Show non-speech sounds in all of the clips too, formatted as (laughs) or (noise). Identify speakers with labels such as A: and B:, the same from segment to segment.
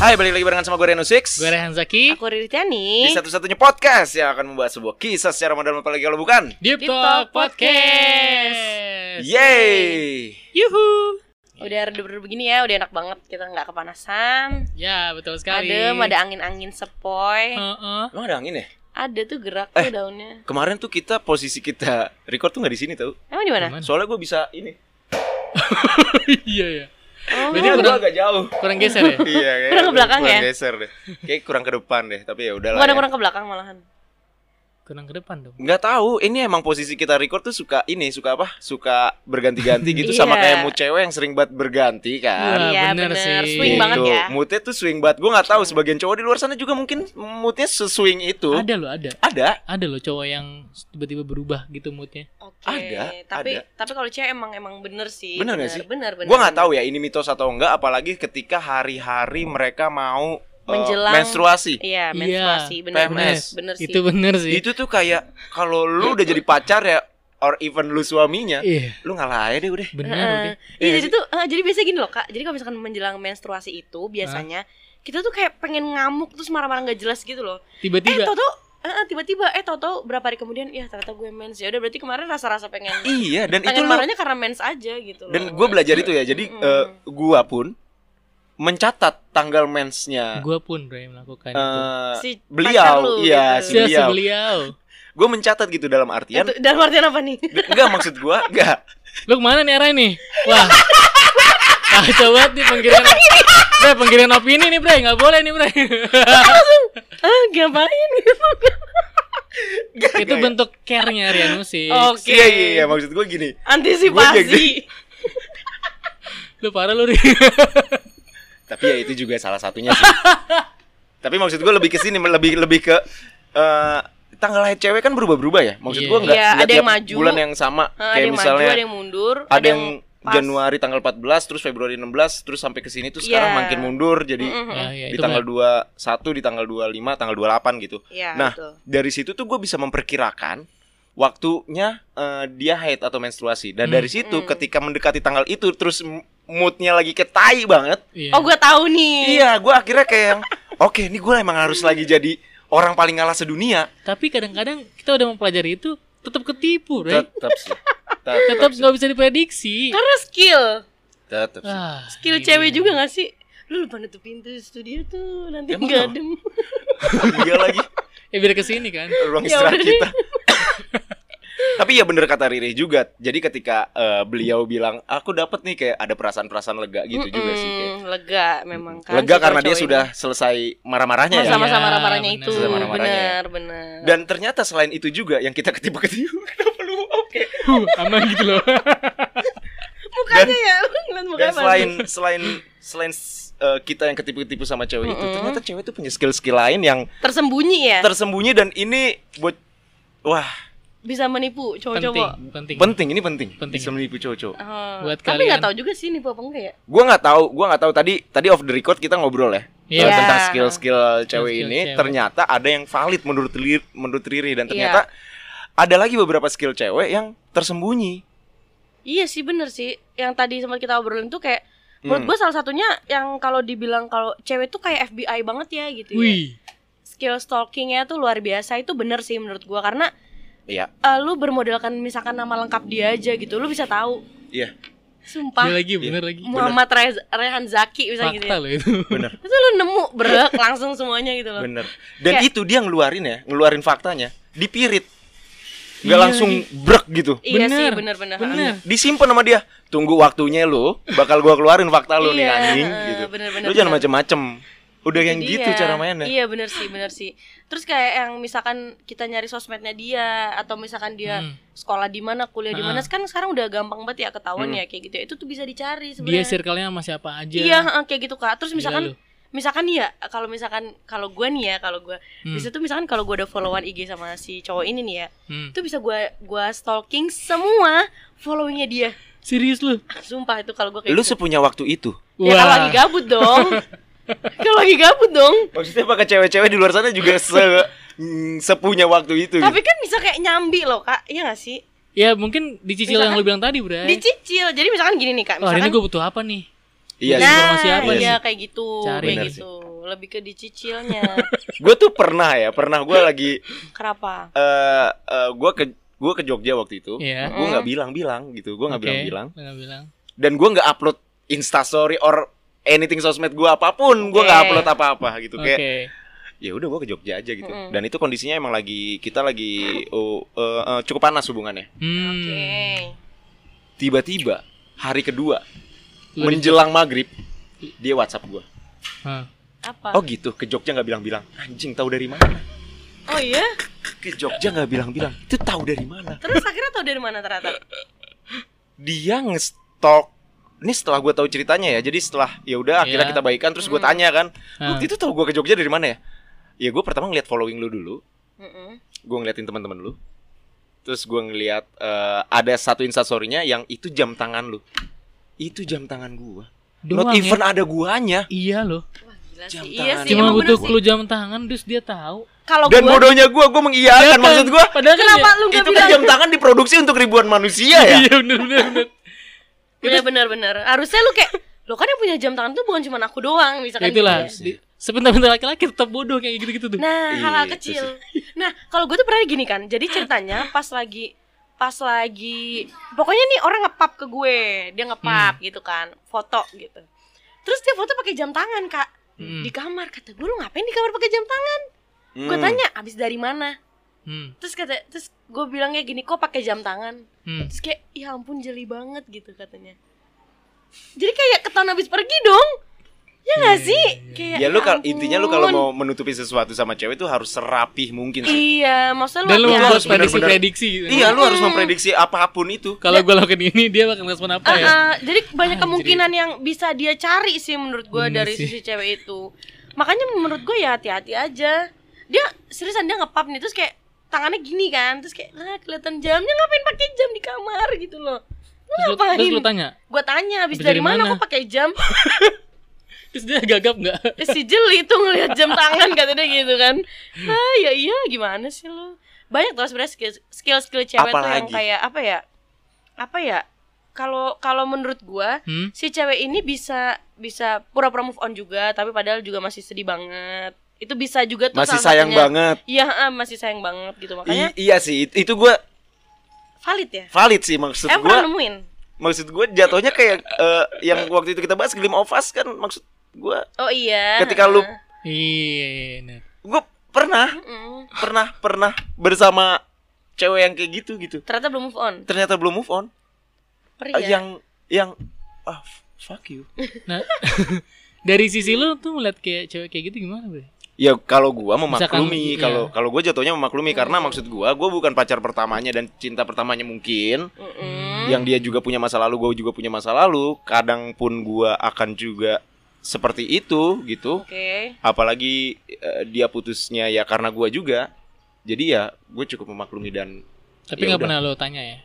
A: Hai, balik lagi barengan sama gue Reno Six
B: Gue Rehan Zaki
C: Aku
A: Di
C: Rirityani
A: satu-satunya podcast yang akan membahas sebuah kisah secara modern apalagi kalau bukan
B: Deep
C: Deep
B: Talk
C: Talk
B: Podcast
A: Yeay
B: Yuhu
C: Udah redup-redup begini ya, udah enak banget Kita nggak kepanasan
B: Ya betul sekali
C: Adem, ada angin-angin sepoi
A: (laughs)
B: Heeh.
A: Emang ada angin ya?
C: Ada tuh gerak
A: Eh.
C: tuh daunnya
A: Kemarin tuh kita posisi kita record tuh nggak di sini tau
C: Emang di mana?
B: Gimana?
A: Soalnya gue bisa ini
B: Iya ya
C: Oh,
B: Berarti
A: Ini gue
B: kurang-
A: agak
C: (laughs)
A: jauh
B: Kurang geser
A: (laughs) Iya
B: ya
A: kayaknya
C: Kurang ke belakang
A: kurang
C: ya?
A: geser deh Kayak kurang ke depan deh Tapi ya udahlah
C: bukan
A: ya.
C: kurang ke belakang malahan
B: Kurang ke depan dong
A: Nggak tahu, ini emang posisi kita record tuh suka ini, suka apa? Suka berganti-ganti gitu
C: Iya.
A: sama kayak mood cewek yang sering banget berganti kan.
B: Ah,
C: Iya
B: bener
C: bener,
B: sih.
C: swing
A: Gitu.
C: banget ya
A: Moodnya tuh swing banget. Gue nggak tahu sebagian cowok di luar sana juga mungkin moodnya seswing itu.
B: Ada loh ada
A: Ada.
B: Ada loh cowok yang tiba-tiba berubah gitu moodnya
C: Oke,
A: Ada,
C: tapi
A: ada.
C: tapi kalau cewek emang emang bener sih.
A: Bener nggak sih?
C: Bener, bener.
A: Gue nggak tahu ya ini mitos atau enggak apalagi ketika hari-hari mereka mau eh,
C: Menjelang-
A: menstruasi.
B: Iya,
C: Iya, menstruasi bener, bener,
A: PMS.
C: bener sih.
B: Itu bener sih
A: Itu tuh kayak kalau lu udah jadi pacar ya or even lu suaminya,
B: Iya
A: lu ngalah aja deh udah.
B: Bener
C: Heeh.
B: udah
C: Iya,
A: Iya
C: jadi tuh eh, jadi biasa gini loh kak. Jadi kalau misalkan menjelang menstruasi itu biasanya kita tuh kayak pengen ngamuk terus marah-marah nggak jelas gitu loh. Eh
B: Tiba-tiba
C: Toto, eh, tiba-tiba eh Toto berapa hari kemudian ya ternyata gue mens ya udah berarti kemarin rasa-rasa pengen
A: Iya, dan itu
C: pengen
A: lu
C: marahnya karena mens aja gitu.
A: dan
C: loh.
A: gue belajar itu ya. Jadi
C: Mm.
A: eh, gua pun mencatat tanggal mensnya
B: Gue pun Ray melakukan itu
A: eh
C: si pacar
A: beliau,
C: lu,
A: iya si
C: gitu.
A: beliau.
B: Sia sebeliau
A: Gue mencatat gitu dalam artian,
C: Itu, eh, dalam artian apa nih? (laughs)
A: enggak maksud gua, enggak.
B: Lu kemana nih arahnya nih?
C: (laughs)
B: Wah Kacau banget nih penggiliran Bre, penggiliran opini nih bre Gak boleh nih bre
C: ah, ngapain gitu?
B: Itu bentuk care-nya Rianu sih
C: (laughs)
A: (laughs)
C: Oke.
A: Iya iya iya maksud gue gini. Gua jadi-
C: Antisipasi.
B: Lu parah
A: (laughs)
B: lu Ri
A: Tapi ya itu juga salah satunya
B: (laughs)
A: sih. Tapi maksud gue lebih ke sini lebih lebih ke eh tanggal lahir cewek kan berubah-berubah ya. Maksud gue
B: Iya.
A: nggak
C: Iya,
A: nggak
C: ada yang
A: tiap
C: maju.
A: bulan yang sama.
C: (laughs)
A: Kayak
C: Ah, ada yang
A: misalnya
C: maju, ada yang mundur, pas.
A: Januari tanggal 14, terus Februari 16, terus sampai ke sini tuh sekarang
C: Iya.
A: makin mundur jadi
C: Mm-mm.
B: Ah, iya,
A: di
B: itu
A: tanggal
B: mah.
A: 21, di tanggal 25, tanggal 28 gitu.
C: Iya,
A: Nah.
C: betul.
A: Dari situ tuh gue bisa memperkirakan waktunya eh, dia haid atau menstruasi. Dan
B: Hmm.
A: dari situ
C: Hmm.
A: ketika mendekati tanggal itu terus m- moodnya lagi ketai banget
B: Iya.
C: Oh, gue tahu nih.
A: Iya, gue akhirnya kayak yang, oke, ini gue emang harus lagi jadi orang paling ngalah sedunia.
B: Tapi kadang-kadang kita udah mempelajari itu Tetap ketipu bre
A: Tetap sih,
B: Tetap gak bisa diprediksi
C: Karena skill.
A: tetap sih.
B: Ah,
A: Iya.
C: Skill
B: ini
C: cewek
B: dia.
C: juga gak sih? Lu lupa nutup pintu studio tuh nanti
A: Emang
C: nggak
A: apa?
C: adem.
A: Iya lagi
B: Eh biar kesini
A: (laughs)
B: kan
A: ruang
C: Ya
A: istirahat
C: udah deh.
A: kita. (laughs) Tapi ya bener kata Riri juga. Jadi ketika eh, beliau bilang, aku dapat nih kayak ada perasaan-perasaan lega gitu juga sih. kayak.
C: Mm-mm, Lega memang kan.
A: Lega
C: si
A: karena dia
C: cowok-cowok
A: sudah selesai marah-marahnya
C: ini.
A: ya.
C: sama-sama
B: Iya,
C: marah-marahnya
B: bener.
C: itu.
A: Sama-sama marah-marahnya ya.
C: Bener, bener.
A: Dan ternyata selain itu juga yang kita
C: (laughs)
A: ketipu-ketipu. Kenapa lu? Oke.
B: Huh, aman gitu loh
C: Mukanya ya, (laughs) lu ngeliat mukanya
A: Dan
C: bagus.
A: (laughs) selain selain selain eh, kita yang ketipu-ketipu sama cewek itu,
C: Mm-mm.
A: ternyata cewek itu punya skill-skill lain yang
C: tersembunyi ya,
A: tersembunyi dan ini buat wah
C: bisa menipu
B: Penting
C: cowok-cowok.
B: Penting
A: penting ini penting
B: Penting.
A: bisa menipu cowok-cowok.
C: Oh,
B: Buat
C: tapi
B: kalian.
C: nggak tahu juga sih nipu apa enggak ya.
A: Gua nggak tahu, gua nggak tahu tadi tadi off the record kita ngobrol ya
B: Iya.
A: eh, tentang
C: Iya.
A: skill-skill cewek
B: Skill-skill
A: ini
B: cewek.
A: ternyata ada yang valid menurut Riri, menurut Riri dan ternyata ada lagi beberapa skill cewek yang tersembunyi.
C: Iya sih bener sih. Yang tadi sempat kita obrolin tuh kayak
A: Hmm.
C: menurut gue salah satunya yang kalau dibilang kalau cewek tuh kayak FBI banget ya gitu ya.
B: Wih
C: Skill stalkingnya tuh luar biasa itu bener sih menurut gue karena
A: Iya.
C: eh, lu bermodalkan misalkan nama lengkap dia aja gitu, lu bisa tahu.
A: Iya.
B: Dia
C: Sumpah.
B: lagi bener lagi
C: Muhammad Rez- Rehan Zaki bisa gitu.
B: Fakta
C: Ya.
B: loh itu
A: Bener,
C: Itu lu nemu brek langsung semuanya gitu loh.
A: bener. Dan
C: Kayak-
A: itu dia ngeluarin ya, ngeluarin faktanya, dipirit. Nggak
B: Iya
A: langsung brek gitu.
C: Iya sih
B: Bener.
C: bener-bener.
B: (laughs) Bener
A: Disimpan sama dia. Tunggu waktunya lu, bakal gua keluarin fakta lu nih
C: Iya,
A: anjing
C: eh,
A: gitu.
C: bener-bener,
A: Lu jangan
C: bener.
A: macem-macem. Udah yang
C: Jadi
A: gitu
C: ya,
A: cara mainnya.
C: Iya bener sih bener sih. Terus kayak yang misalkan kita nyari sosmednya dia atau misalkan dia
B: Hmm. Ah.
C: sekolah di mana, kuliah di mana, kan sekarang udah gampang banget ya ketahuan
A: Hmm.
C: ya kayak gitu. ya. Itu tuh bisa dicari
B: Dia
C: sebenarnya.
B: circle-nya sama siapa aja
C: Iya heeh, kayak gitu kak. Terus
B: Gila
C: misalkan
B: lu.
C: misalkan nih ya kalau misalkan kalau gue nih ya kalau gue
B: Hmm.
C: bisa tuh misalkan kalau gue udah followan IG sama si cowok ini nih ya
B: Hmm.
C: itu bisa gue gua stalking semua followingnya dia
B: Serius lu
C: sumpah itu kalau gue kayak
A: Lu
C: gitu.
A: sepunya waktu itu.
C: ya kalau lagi gabut
B: (laughs)
C: dong kalau lagi gabut dong
A: Maksudnya pakai cewek-cewek di luar sana
C: (laughs)
A: juga se mm, sepunya waktu itu.
C: Tapi
A: gitu.
C: kan bisa kayak nyambi loh kak, iya gak sih?
B: Ya mungkin dicicil yang
C: Misalkan-
B: lu bilang tadi Bray
C: Dicicil, jadi misalkan gini nih kak
B: Eh. Oh hari ini
C: misalkan,
B: gue butuh apa nih
A: Iya.
C: Nah
A: sih.
B: informasi apa
A: nih?
C: iya kayak gitu,
B: Cari.
C: kayak
A: Bener
C: gitu lebih ke dicicilnya. (laughs)
A: gue tuh pernah ya pernah gue lagi
C: Kenapa?
A: eh eh, gue ke gue ke Jogja waktu itu
B: Iya.
A: gue nggak bilang-bilang gitu gue nggak
B: Oke,
A: bilang-bilang
B: lu nggak bilang.
A: dan gue nggak upload instastory or anything sosmed gue apapun gue nggak
C: Oke.
A: upload apa-apa gitu
B: Oke.
A: kayak ya udah gue ke Jogja aja gitu
C: Mm-mm.
A: dan itu kondisinya emang lagi kita lagi oh, eh, eh, cukup panas hubungannya
B: Hmm.
C: Oke.
A: tiba-tiba hari kedua
B: Lu di-
A: menjelang maghrib dia WhatsApp gue
B: Hah.
C: Apa?
A: oh gitu ke Jogja nggak bilang-bilang anjing tahu dari mana
C: Oh iya?
A: ke Jogja nggak bilang-bilang itu tahu dari mana
C: Terus akhirnya tau dari mana ternyata?
A: dia ngestok ini setelah gue tahu ceritanya ya jadi setelah ya udah akhirnya
B: Iya.
A: kita baikan terus gue
C: Hmm.
A: tanya kan
B: Hah.
A: waktu itu tahu gue ke Jogja dari mana ya ya gue pertama ngeliat following lu dulu
C: Mm-mm.
A: gue ngeliatin teman-teman lu terus gue ngeliat eh, ada satu instastorynya yang itu jam tangan lu itu jam tangan gua
B: Doang
A: not
B: ya?
A: even ada guanya
B: Iya loh.
C: Wah gila
A: Jam
C: sih. Iya
A: tangan.
C: sih.
B: Cuma
C: emang
B: butuh
C: bener sih.
B: clue jam tangan terus dia tahu.
C: Kalau
A: dan
C: gua
A: bodohnya gua gua mengiyakan maksud gua
B: Padahal kan
C: kenapa
B: dia-
C: lu nggak
A: itu kan
C: bilang?
A: jam tangan diproduksi untuk ribuan manusia ya
B: Iya bener bener bener.
C: Iya benar-benar. Harusnya lu kayak lo kan yang punya jam tangan tuh bukan cuma aku doang
B: Ya
C: misalkan
B: itulah.
C: gitu ya.
B: di- Sebentar-bentar laki-laki tetap bodoh kayak gitu-gitu tuh.
C: Nah,
A: (laughs) Iya,
C: hal-hal
A: itu
C: kecil. Nah, kalau gue tuh pernah gini kan. Jadi
A: (laughs)
C: ceritanya pas lagi pas lagi pokoknya nih orang ngepap ke gue, dia ngepap
A: Hmm.
C: gitu kan, foto gitu. Terus dia foto pakai jam tangan, Kak.
B: Hmm.
C: Di kamar kata gue lu ngapain di kamar pakai jam tangan? Gue
A: Hmm.
C: tanya, "Abis dari mana?"
B: Hmm.
C: Terus kata terus gue bilangnya gini, "Kok pakai jam tangan?"
B: Hmm.
C: Terus kayak, "Ya ampun, jeli banget" gitu katanya. Jadi kayak ketahuan abis pergi dong. Ya gak
B: Iya,
C: sih?
B: iya, iya.
C: Kayak
A: ya lu kal-
C: ampun.
A: intinya lu kalau mau menutupi sesuatu sama cewek tuh harus serapih mungkin sih
C: Iya, maksudnya lu
B: Dan lu
A: Iya,
B: membuat
A: harus bener-bener.
B: prediksi-prediksi gitu.
A: iya lu harus memprediksi apapun itu
B: Kalau gua lakukan ini dia bakal respon apa
C: Ah,
B: ya?
C: ah, jadi
B: Anjir.
C: banyak kemungkinan yang bisa dia cari sih menurut gue
B: Bener
C: dari
B: sih.
C: sisi cewek itu. Makanya menurut gue ya hati-hati aja. Dia seriusan dia ngepap nih terus kayak tangannya gini kan, terus kayak lah kelihatan jamnya ngapain pakai jam di kamar gitu loh. Lu
B: Terus lu,
C: ngapain?
B: terus lu tanya.
C: Gue tanya habis dari, mana kok pakai jam?
B: Terus dia gagap nggak?
C: Eh, si jeli itu ngelihat jam tangan katanya gitu kan. Ah ya iya gimana sih lu? Banyak tuh sebenarnya skill- skill-skill cewek tuh yang
A: Apalagi?
C: kayak apa ya? Apa ya? Kalau kalau menurut gua
B: Hmm?
C: si cewek ini bisa bisa pura-pura move on juga tapi padahal juga masih sedih banget itu bisa juga tuh
A: masih
C: salah
A: sayang
C: satunya.
A: banget
C: iya ah, masih sayang banget gitu makanya
A: I- iya sih it- itu gua
C: valid ya
A: valid sih maksud
C: emang
A: gua
C: pernah nemuin
A: maksud gue jatuhnya kayak eh, yang waktu itu kita bahas Glim of Us kan maksud gue
C: oh iya
A: Ketika lu-
C: ah.
B: Iya. bener.
A: gue pernah
C: Mm-mm.
A: pernah pernah bersama cewek yang kayak gitu gitu
C: ternyata belum move on
A: ternyata belum move on
C: Ngeri
B: Oh,
A: Eh,
C: ya?
B: iya.
A: yang yang ah f- fuck you
B: Nah, (laughs) dari sisi lu tuh ngeliat kayak cewek kayak gitu gimana, Bre?
A: ya kalau gua
B: Misalkan,
A: memaklumi
B: iya.
A: kalau kalau gue jatuhnya memaklumi karena maksud gua gue bukan pacar pertamanya dan cinta pertamanya mungkin
C: Mm-mm.
B: Hmm.
A: yang dia juga punya masa lalu gue juga punya masa lalu kadang pun gua akan juga seperti itu gitu
C: oke
A: apalagi eh, dia putusnya ya karena gua juga jadi ya gue cukup memaklumi dan
B: Tapi
A: Ya
B: nggak
A: udah.
B: pernah lu tanya ya.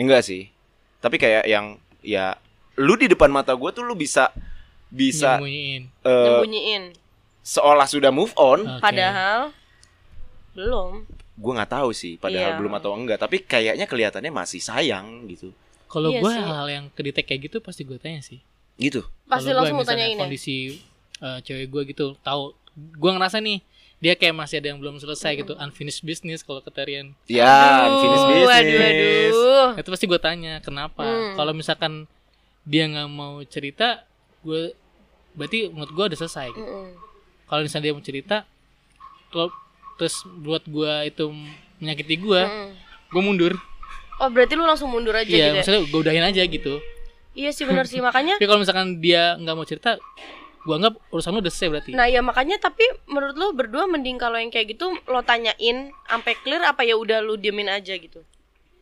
A: enggak sih tapi kayak yang ya lu di depan mata gua tuh lu bisa bisa
B: Nyembunyiin.
A: eh,
C: nyembunyiin
A: seolah sudah move on
B: Oke.
C: padahal belum
A: gua nggak tahu sih padahal
C: Iya.
A: belum atau enggak tapi kayaknya kelihatannya masih sayang gitu
B: Kalau
C: Iya
B: gue
C: sih.
B: hal yang kedetek kayak gitu pasti gue tanya sih.
A: gitu
C: pasti
B: Kalau gua
C: langsung mau
B: misalnya
C: tanyain ya
B: Kondisi eh, cewek gue gitu, tahu gue ngerasa nih dia kayak masih ada yang belum selesai gitu, unfinished business kalau kata Rian.
A: ya
C: Aduh,
A: unfinished business
C: waduh, aduh.
B: Itu pasti gue tanya kenapa.
C: Hmm.
B: Kalau misalkan dia nggak mau cerita, gue berarti menurut gue udah selesai. Gitu.
C: Mm-mm.
B: Kalau misalnya dia mau cerita, kalau- terus buat gue itu menyakiti gue,
C: Mm-mm.
B: gue mundur.
C: oh berarti lu langsung mundur
B: Iya,
C: aja Mm. gitu ya?
B: maksudnya gue udahin aja gitu.
C: iya sih benar sih
B: (laughs)
C: makanya
B: Tapi kalau misalkan dia nggak mau cerita, gue anggap urusan lu udah selesai berarti.
C: Nah ya makanya tapi menurut lo berdua mending kalau yang kayak gitu lo tanyain sampai clear apa ya udah lu diemin aja gitu.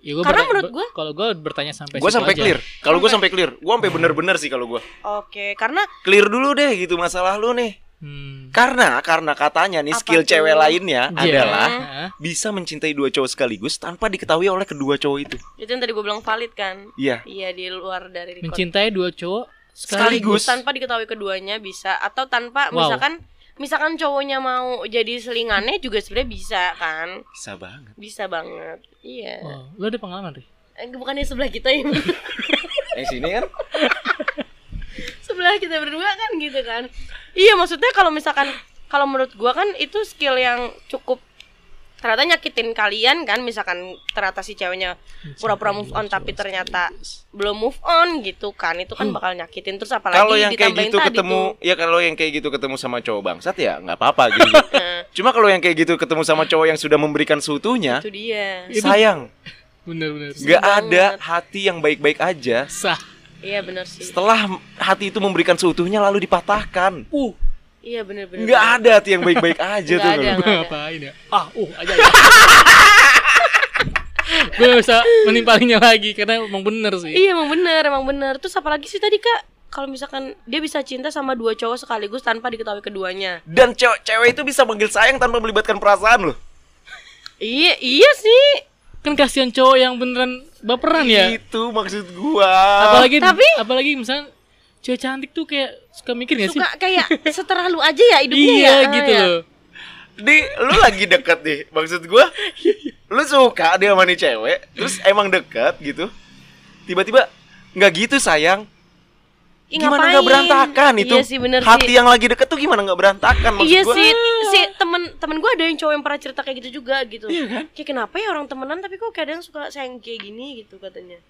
B: Ya, gua
C: Karena
B: berta-
C: menurut
B: ber-
C: gua-
B: kalau gue bertanya sampai
A: gue
B: situ
A: sampai
B: aja.
A: clear kalau gue sampai clear gue sampai bener-bener sih kalau gua
C: Oke karena
A: clear dulu deh gitu masalah lu nih
B: Hmm.
A: karena karena katanya nih
C: Apa
A: skill
C: tuh?
A: cewek lainnya
B: Iya.
A: adalah
B: Hah?
A: bisa mencintai dua cowok sekaligus tanpa diketahui oleh kedua cowok itu.
C: itu yang tadi gue bilang valid kan.
A: Iya.
C: Iya di luar dari record.
B: mencintai dua cowok sekali.
A: Sekaligus.
C: tanpa diketahui keduanya bisa atau tanpa
B: Wow.
C: misalkan misalkan cowoknya mau jadi selingannya juga sebenarnya bisa kan
A: Bisa banget.
C: bisa banget iya
B: Oh, lo ada pengalaman deh.
C: Eh, bukannya sebelah kita ya
A: Yang sini kan?
C: (laughs) sebelah kita berdua kan gitu kan iya maksudnya kalau misalkan kalau menurut gua kan itu skill yang cukup ternyata nyakitin kalian kan misalkan ternyata si ceweknya pura-pura move on tapi ternyata belum move on gitu kan itu kan bakal nyakitin terus apalagi
A: Kalau yang kayak
C: ditambahin
A: gitu
C: tadi
A: ketemu,
C: tuh.
A: ya kalau yang kayak gitu ketemu sama cowok bangsat ya nggak apa-apa
C: (laughs)
A: gitu. Cuma kalau yang kayak gitu ketemu sama cowok yang sudah memberikan seutuhnya,
C: itu dia
A: sayang,
B: Bener-bener.
A: nggak ada hati yang baik-baik aja.
B: Sah.
C: iya benar sih
A: Setelah hati itu memberikan seutuhnya lalu dipatahkan,
B: Uh,
C: iya benar-benar
A: nggak ada hati yang baik-baik aja
C: Nggak
A: tuh.
C: ada.
A: kalau-
B: gue ngapain ya? Ah, uh, aja ya. gue gak bisa menimpalinya lagi karena emang bener sih.
C: Iya emang bener, emang bener. Terus apalagi sih tadi kak, kalau misalkan dia bisa cinta sama dua cowok sekaligus tanpa diketahui keduanya.
A: Dan cewek cewek itu bisa manggil sayang tanpa melibatkan perasaan loh.
C: Iya, iya sih.
B: Kan kasihan cowok yang beneran baperan ya.
A: Itu maksud gua.
B: apalagi
C: tapi-
B: apalagi misalnya cewek cantik tuh kayak suka mikir gak sih?
C: Suka (laughs) kayak seterlalu aja ya hidupnya.
B: Iya
C: ya. Ah,
B: gitu
C: ya.
B: loh.
A: Di lu lagi deket nih, maksud gua. Lu suka dia sama nih cewek, terus emang deket gitu. Tiba-tiba nggak gitu sayang.
C: Ih,
A: Gimana
C: ngapain?
A: nggak berantakan itu?
C: Iya sih bener
A: Hati
C: sih.
A: yang lagi deket tuh gimana nggak berantakan maksud
C: Iya
A: gua.
C: sih, si temen temen gue ada yang cowok yang pernah cerita kayak gitu juga gitu. Kayak kenapa ya orang temenan tapi kok kadang suka sayang kayak gini gitu (laughs) katanya.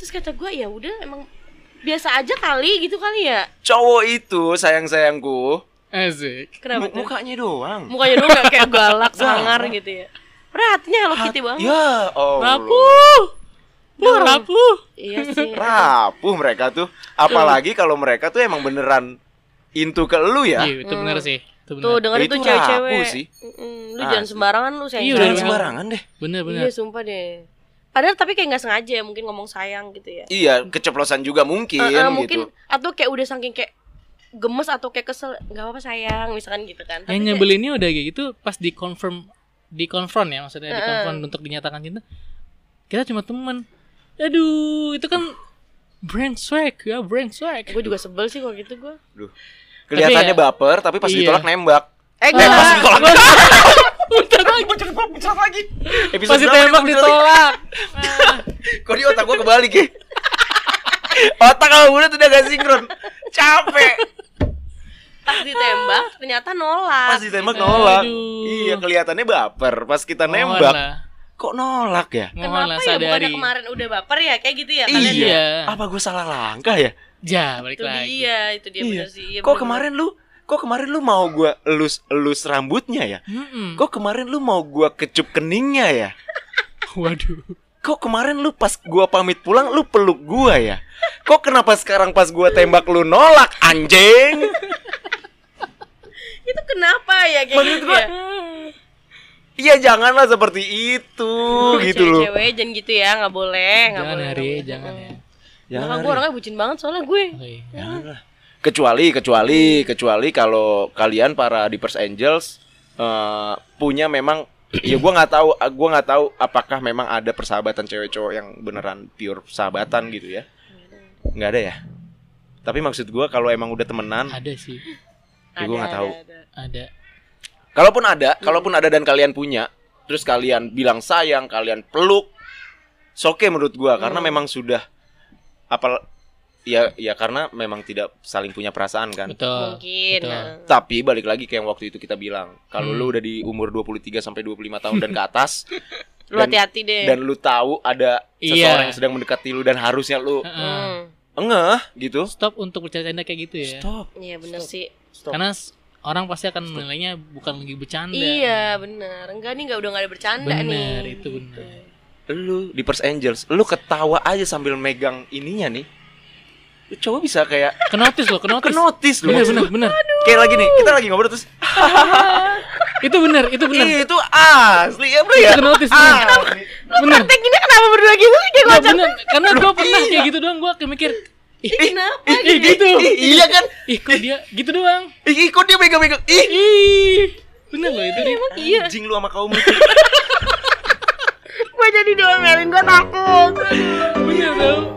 C: Terus kata gue ya udah emang biasa aja kali gitu kali ya.
A: Cowok itu sayang-sayangku,
B: Asik.
A: mu-
C: Kenapa? tuh?
A: mukanya doang.
C: mukanya dulu gak kayak galak sangar gitu ya Padahal hatinya Hello Kitty gitu banget
A: Ya, oh.
B: Rapuh. Lu rapuh.
C: iya sih
A: rapuh mereka tuh apalagi kalau mereka tuh emang beneran into ke lu ya
B: Iya, itu bener sih. Itu
C: tuh
B: bener.
C: dengar
A: Ya,
C: itu
A: itu
C: cewek-cewek
A: rapuh sih. Ah,
C: Mm-mm, lu jangan sembarangan lu sayang
B: Iya,
A: jangan
B: udah
A: sembarangan deh
B: Bener bener.
C: iya sumpah deh padahal tapi kayak nggak sengaja ya mungkin ngomong sayang gitu ya
A: iya keceplosan juga mungkin
C: Eh, eh,
A: gitu
C: mungkin atau kayak udah saking kayak gemes atau kayak kesel nggak apa-apa sayang misalkan gitu
B: Yang
C: kan kayak-
B: nyebelinnya udah kayak gitu pas di confirm di konfront ya maksudnya di konfront untuk dinyatakan cinta. Kita cuma teman. Aduh, itu kan brand swag ya, brand swag.
C: gue juga sebel sih kalau gitu gue
A: Duh. kelihatannya
B: Tapi ya-
A: baper tapi pas
B: Iya. Ah.
A: ditolak nembak
C: eh
A: eh pas
C: enggak
A: ditolak
B: Bentar lagi.
A: Bucat lagi episode
B: Pas
A: berapa
B: ditembak
A: nih, episode
B: ditolak.
A: lagi? (laughs) kok di otak gua kebalik ya (laughs) otak sama mulut udah gak sinkron capek
C: pas ditembak ternyata
A: pas
C: nolak
A: ditembak nolak
B: Aduh. Oh, nah.
A: iya kelihatannya baper pas kita
B: Mohon
A: nembak
B: lah.
A: kok nolak ya
B: Mohon lah
C: kenapa ya bukannya
B: sadari.
C: kemarin udah baper ya kayak gitu ya kalian ya?
A: iya apa gua salah langkah ya
B: Ja, balik
C: itu
B: lagi.
C: dia itu dia
A: Iya.
C: bener sih iya,
A: kok
C: bener.
A: kemarin lu kok kemarin lu mau gua elus elus rambutnya ya
B: Mm-mm.
A: kok kemarin lu mau gua kecup keningnya ya
B: Waduh.
A: kok kemarin lu pas gua pamit pulang lu peluk gua ya kok kenapa sekarang pas gua tembak lu nolak anjing
C: itu kenapa ya kayak
A: Maksud
C: gitu
A: gua,
C: ya
A: Iya janganlah seperti itu gitu loh
C: cewek jangan gitu ya nggak boleh nggak
B: Jangan
C: boleh
B: hari,
C: nggak boleh.
B: jangan ya.
C: Jangan,
A: Jangan,
C: gue orangnya bucin banget soalnya gue
B: Oke.
A: janganlah. Ya kecuali kecuali kecuali kalau kalian para Deepers Angels eh, punya memang (clears throat) ya gua nggak tahu gua nggak tahu apakah memang ada persahabatan cewek cowok yang beneran pure persahabatan gitu ya nggak ada ya tapi maksud gua kalau emang udah temenan
B: Ada sih.
A: Ya, gua nggak
C: Ada,
A: tahu.
C: ada, ada.
B: Ada.
A: Kalaupun ada,
C: Hmm.
A: kalaupun ada dan kalian punya, terus kalian bilang sayang, kalian peluk, soke menurut gua karena
C: Hmm.
A: memang sudah apa ya ya karena memang tidak saling punya perasaan kan.
B: Betul.
C: mungkin
B: Oh, Betul.
C: nah.
A: Tapi balik lagi kayak yang waktu itu kita bilang, kalau
C: Hmm.
A: lu udah di umur 23 sampai 25 tahun dan ke atas
C: (laughs) lu
A: Dan-
C: hati-hati deh
A: dan lu tahu ada
B: Iya.
A: seseorang yang sedang mendekati lu dan harusnya lu
B: Heeh.
C: Hmm.
A: ngeh gitu.
B: Stop untuk bercanda-canda kayak gitu ya.
A: Stop.
C: iya bener sih
A: Stop.
B: Karena s- orang pasti akan menilainya bukan lagi bercanda.
C: iya bener enggak nih nggak udah nggak ada bercanda
B: Benar,
C: nih
B: itu benar.
A: lu di Pers Angels, lu ketawa aja sambil megang ininya nih. Lu coba bisa kayak
B: Kenotis loh, kenotis.
A: kenotis lu
B: Benar,
A: maksud
B: benar,
A: gua.
B: benar.
A: Kayak lagi nih, kita lagi ngobrol terus
B: Itu benar, itu benar.
A: Ih, itu asli ya bro ya
B: Itu kenotis, benar.
A: Asli.
B: Benar.
C: Tek ini kenapa berdua gitu sih kayak
B: Nah, benar. Karena gue pernah kayak gitu doang gue kayak mikir,
C: ih, kenapa
B: ih, ih, gitu.
A: Ih, Iya kan
B: Ih, kok dia gitu doang.
A: Ih ih, kok dia megang-megang Ih
B: Ih. Benar loh itu dia.
C: emang iya
A: Anjing lu sama kaum lu.
C: gue jadi diomelin gue takut
B: Benar tau.